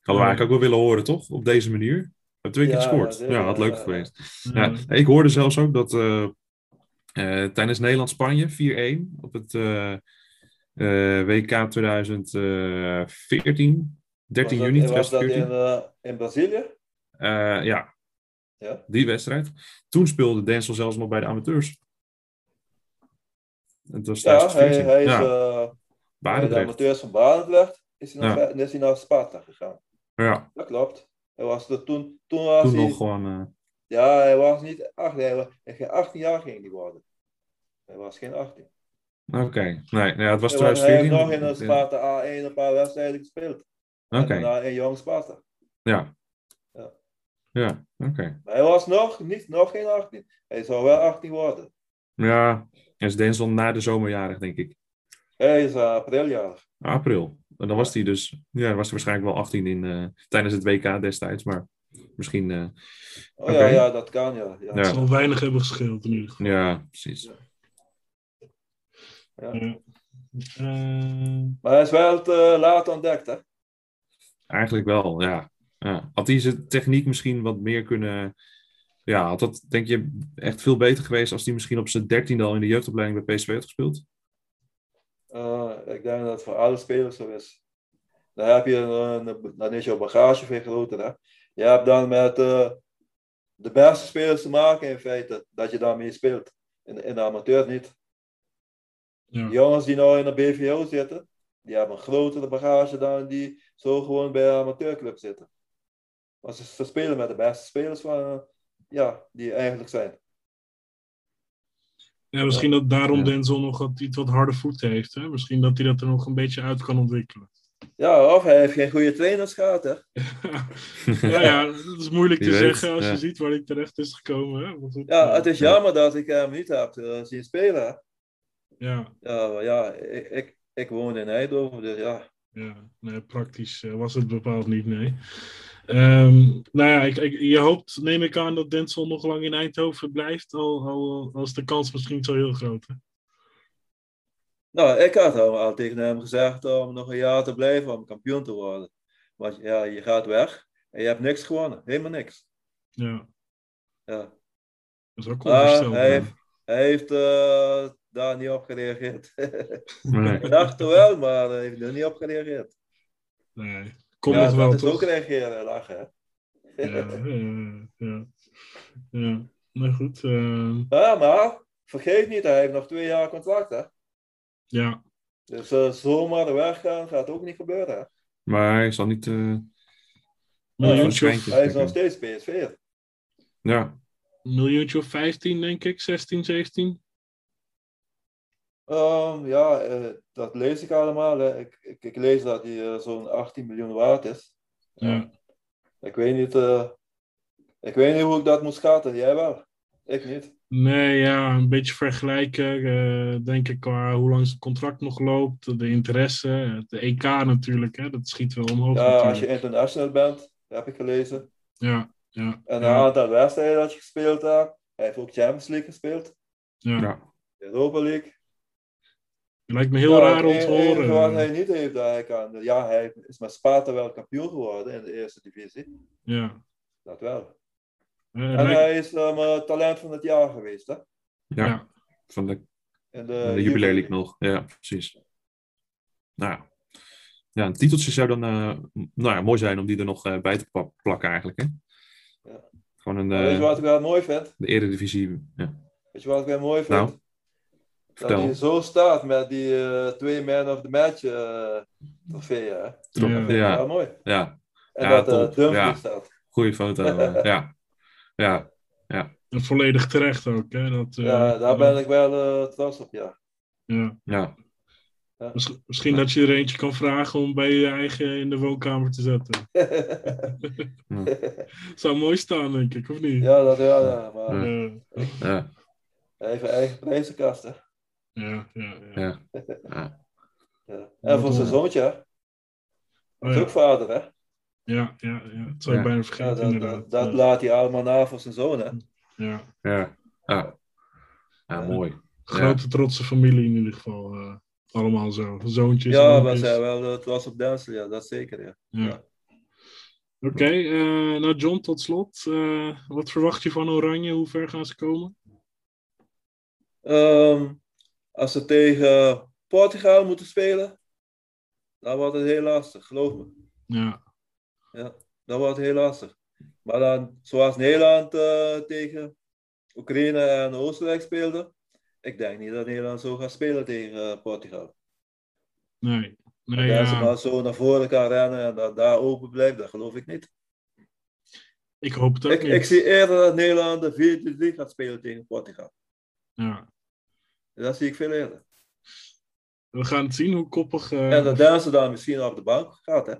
B: Hadden we eigenlijk ook wel willen horen, toch? Op deze manier. We hebben twee keer
C: Ja,
B: gescoord.
C: dat-
B: Ja, had leuk
C: ja.
B: geweest.
A: Ja.
B: Ja, ik hoorde zelfs ook dat eh, eh, tijdens Nederland-Spanje 4-1 op het eh, eh, WK 2014, 13
C: Was dat-
B: juni
C: Was dat in,
B: 2014.
C: eh, in Brazilië?
B: Eh, ja,
C: Ja.
B: die wedstrijd. Toen speelde Denzel zelfs nog bij de amateurs. Het was
C: Ja,
B: tijdens
C: hij,
B: het
C: hij is
B: ja,
C: eh, bij de
B: Barendrecht.
C: amateurs van Barendrecht, is hij,
B: Ja.
C: naar, Ve- is hij naar Sparta gegaan.
B: Ja,
C: Dat klopt. Hij was er toen, toen was
B: toen
C: hij,
B: nog gewoon... eh,
C: ja, hij was niet 18, hij was, hij ging 18 jaar ging hij worden. Hij was geen 18.
B: Oké, nee, nou ja, het was
C: Hij was- hij heeft
B: 2014.
C: nog in
B: Ja.
C: een Sparta A1 een paar wedstrijden gespeeld.
B: Oké,
C: En daarna in Jong Sparta.
B: ja.
C: Ja.
B: Ja, oké.
C: Maar hij was nog, niet, nog geen 18. Hij zou wel 18 worden.
B: Ja, en is Denzel na de zomerjarig, denk ik.
C: Hij is eh, apriljarig.
B: April. En dan was hij dus, ja, dan was hij waarschijnlijk wel 18 in, eh, tijdens het WK destijds, maar misschien, eh,
C: Oh
B: Oké.
C: ja, ja, dat kan ja. ja.
A: Het
B: Ja.
A: zal weinig hebben gescheeld in ieder geval.
B: ja, precies.
C: Ja.
A: Ja. Eh,
C: Maar hij is wel te laat ontdekt, hè?
B: Eigenlijk wel, ja. ja. Had hij zijn techniek misschien wat meer kunnen, ja, had dat denk je echt veel beter geweest als hij misschien op zijn 13e al in de jeugdopleiding bij PSV had gespeeld?
C: Eh, ik denk dat het voor alle spelers zo is. Dan, heb je eh, een, een- dan is jouw bagage veel groter. Hè? Je hebt dan met eh, de beste spelers te maken in feite, dat je daarmee speelt. In, in de amateur niet.
A: ja.
C: Die jongens die nou in de BVO zitten, die hebben een grotere bagage dan die zo gewoon bij een amateurclub zitten. Want ze, ze spelen met de beste spelers van, eh, ja, die er eigenlijk zijn.
A: Ja, misschien dat daarom
B: Ja.
A: Denzel nog wat, iets wat harde voeten heeft. Hè? Misschien dat hij dat er nog een beetje uit kan ontwikkelen.
C: Ja, of hij heeft geen goede trainers gehad, hè?
A: ja, ja, dat is moeilijk
B: Wie
A: te
B: weet,
A: zeggen als
B: ja.
A: je ziet waar hij terecht is gekomen. Hè? Want
C: Ja, het is
B: Ja.
C: jammer dat ik hem niet heb eh, zien spelen, hè?
A: Ja,
C: Ja, maar ja, ik, ik, ik woon in Eindhoven, dus ja.
A: ja. Nee, praktisch eh, was het bepaald niet, nee. Ehm, nou ja, ik, ik- je hoopt, neem ik aan, dat Denzel nog lang in Eindhoven blijft. Al, al, al is de kans misschien niet zo heel groot. Hè?
C: Nou, ik had al, al tegen hem gezegd om nog een jaar te blijven om kampioen te worden. Want ja, je gaat weg en je hebt niks gewonnen, helemaal niks.
A: Ja,
C: Ja.
A: dat is ook
C: Maar Ah, hij
A: onvoorstelbaar.
C: heeft, hij heeft eh, daar niet op gereageerd.
B: Nee.
C: ik dacht wel, maar hij heeft er niet op gereageerd.
A: Nee, komt
C: ja,
A: nog wel,
C: dat is
A: toch?
C: ook reageren en lachen. hè.
A: Ja, eh, ja. ja. Maar goed, ehm,
C: Ja, maar vergeet niet, hij heeft nog twee jaar contract, hè.
A: ja.
C: Dus eh, zomaar weggaan gaat ook niet gebeuren, hè.
B: Maar hij zal niet... eh,
A: Miljoentje
B: Ja,
A: of,
B: dat
C: Hij is nog
B: Oké.
C: steeds PSV.
B: ja,
A: miljoentje of 15, denk ik. 16, 17.
C: Ehm, ja, eh, dat lees ik allemaal. hè. Ik, ik, ik lees dat hij eh, zo'n 18 miljoen waard is.
A: Ja.
C: Ik weet niet, eh, ik weet niet hoe ik dat moet schatten. Jij wel? Ik niet.
A: Nee, ja, een beetje vergelijken. eh, denk ik qua hoe lang zijn contract nog loopt. De interesse. Het EK natuurlijk. Hè, dat schiet wel omhoog.
C: Ja, als je
A: natuurlijk.
C: international bent, heb ik gelezen.
A: Ja, ja,
C: En een
A: ja,
C: aantal wedstrijden dat je gespeeld hebt. Hij heeft ook Champions League gespeeld,
A: ja.
B: ja.
C: Europa League.
A: Het lijkt me heel
C: Ja,
A: raar om
C: het
A: te
C: enige
A: horen.
C: wat hij niet heeft, dat hij kan. Ja, hij is met Sparta wel kampioen geworden in de eerste divisie.
A: Ja.
C: Dat wel.
A: Eh, het
C: En
A: lijkt-
C: hij is ehm, eh, talent van het jaar geweest, hè?
B: Ja,
A: Ja.
B: van de,
C: In
B: van
C: de,
B: de Jubilee League nog. Ja, precies. Nou ja. ja, een titeltje zou dan eh, m- nou ja, mooi zijn om die er nog eh, bij te pla- plakken eigenlijk. Hè?
C: Ja.
B: Gewoon een,
C: Maar Weet je
B: eh
C: wat ik wel mooi vind?
B: de eredivisie. Ja.
C: Weet je wat ik wel mooi vind?
B: Nou,
C: dat
B: Vertel.
C: hij zo staat met die eh, twee man of the match eh trofee. Hè? Dat
B: Trok-
A: Ja.
B: Ja,
C: vind ik
B: ja,
C: wel mooi. En
B: Ja,
C: dat eh
B: top.
C: Dumfries
B: Ja.
C: staat.
B: goede foto. eh, ja. ja,
A: en volledig terecht ook. Hè, dat, eh,
C: Ja, daar ben ik wel eh, trots op, ja.
A: ja.
B: ja.
C: Ja.
A: Miss- misschien dat je er eentje kan vragen om bij je eigen in de woonkamer te zetten. Zou mooi staan, denk ik, of niet?
C: ja, dat ja, ja, maar
A: Eh,
B: Ja,
C: even eigen prijzenkast, hè.
A: ja, ja, ja.
B: ja. ja.
C: Ja. En voor zijn
A: Ja.
C: zoontje, hè.
A: Oh, ja.
C: Drukvader, hè.
A: Ja, ja, ja. Dat zou je
B: Ja.
A: bijna
C: Ja,
A: vergeten,
C: dat, dat,
A: inderdaad.
C: dat
A: Ja.
C: laat hij allemaal na voor zijn zoon, hè.
A: ja.
B: ja. ja. ja mooi.
A: Grote trotse familie in ieder geval. eh, allemaal zo. Zoontjes.
C: Ja, we
A: oompjes.
C: zijn wel eh, trots op Denzel, ja, dat zeker, ja.
A: Ja. Oké, eh, nou John, tot slot. eh, wat verwacht je van Oranje? Hoe ver gaan ze komen?
C: Ehm, als ze tegen Portugal moeten spelen, dan wordt het heel lastig, geloof me.
A: Ja,
C: Dat wordt heel lastig. Maar dan, zoals Nederland eh, tegen Oekraïne en Oostenrijk speelde, ik denk niet dat Nederland zo gaat spelen tegen eh, Portugal.
A: nee. Nee,
C: Dat ze
A: ja.
C: maar zo naar voren kan rennen en dat daar open blijft, dat geloof ik niet.
A: Ik hoop het ook
C: Ik,
A: niet.
C: ik zie eerder dat Nederland de 4-3 gaat spelen tegen Portugal.
A: Ja.
C: Dat zie ik veel eerder.
A: We gaan het zien hoe koppig... eh,
C: En dat Denzel dan misschien op de bank gaat, hè.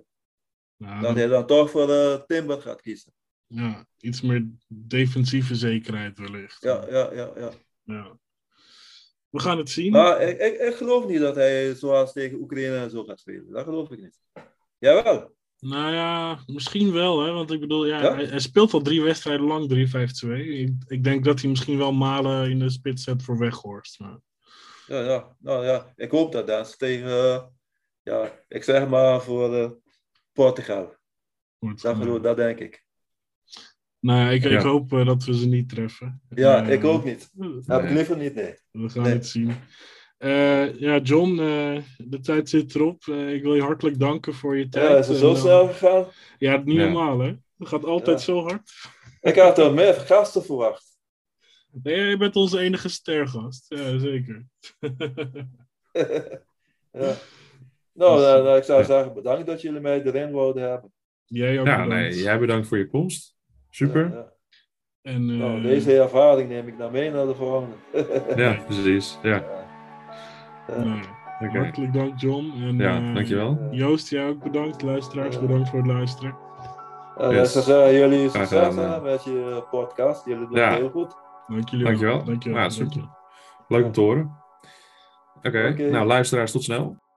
A: nou,
C: Dat hij dan toch voor eh, Timber gaat kiezen.
A: ja, iets meer defensieve zekerheid wellicht.
C: Ja, ja, ja, ja.
A: Ja. We gaan het zien.
C: Maar ik, ik, ik geloof niet dat hij zoals tegen Oekraïne en zo gaat spelen. Dat geloof ik niet. Jawel.
A: Nou ja, misschien wel, hè? want ik bedoel, ja,
C: Ja?
A: Hij, hij speelt al drie wedstrijden lang 3-5-2. Ik, ik denk dat hij misschien wel malen in de spits zet voor Weghorst. Maar...
C: Ja, ja. Nou ja, ik hoop dat Dans tegen, eh, ja, ik zeg maar voor eh, Portugal.
A: Goed,
C: Dat,
A: eh,
C: geloof, dat denk ik.
A: nou, ja, ik, ik
B: Ja.
A: hoop eh, dat we ze niet treffen.
C: Ja,
A: Eh,
C: ik ook niet.
A: We
C: Heb ik liever niet, nee.
A: gaan
C: Nee.
A: het zien. Eh, ja, John, eh, de tijd zit erop. Eh, ik wil je hartelijk danken voor je tijd.
C: Ja, is het
A: En,
C: zo
A: eh,
C: snel gegaan?
A: Ja, niet
B: Ja.
A: normaal, hè? Het gaat altijd
C: Ja.
A: zo hard.
C: Ik had er meer gasten verwacht.
A: Nee, jij bent onze enige stergast. Ja, zeker.
C: ja. Nou,
A: Dus,
C: dan, dan, ik zou
B: ja.
C: zeggen, bedankt dat jullie mij erin wouden hebben.
A: Jij ook
B: Ja,
A: bedankt.
B: nee, jij bedankt voor je komst. Super.
C: Ja, ja.
A: En, eh,
C: Nou, deze ervaring neem ik dan mee naar de volgende.
B: Ja, precies. Ja,
A: nee.
B: oké.
A: nou, Hartelijk dank, John. En,
B: Ja,
A: eh,
B: dankjewel.
A: Joost, jij ook bedankt. Luisteraars, bedankt voor het luisteren.
C: En
B: Yes.
C: ze Eh, zeggen, jullie
B: Graag
C: succes
B: gedaan,
C: hè,
B: eh.
C: met je podcast. Jullie doen
B: Ja.
C: het heel goed.
A: Dank jullie wel.
B: Dankjewel.
A: Dankjewel.
B: Ja, super.
A: Dankjewel.
B: Leuk om te horen. Oké,
C: Oké.
B: nou luisteraars, tot snel.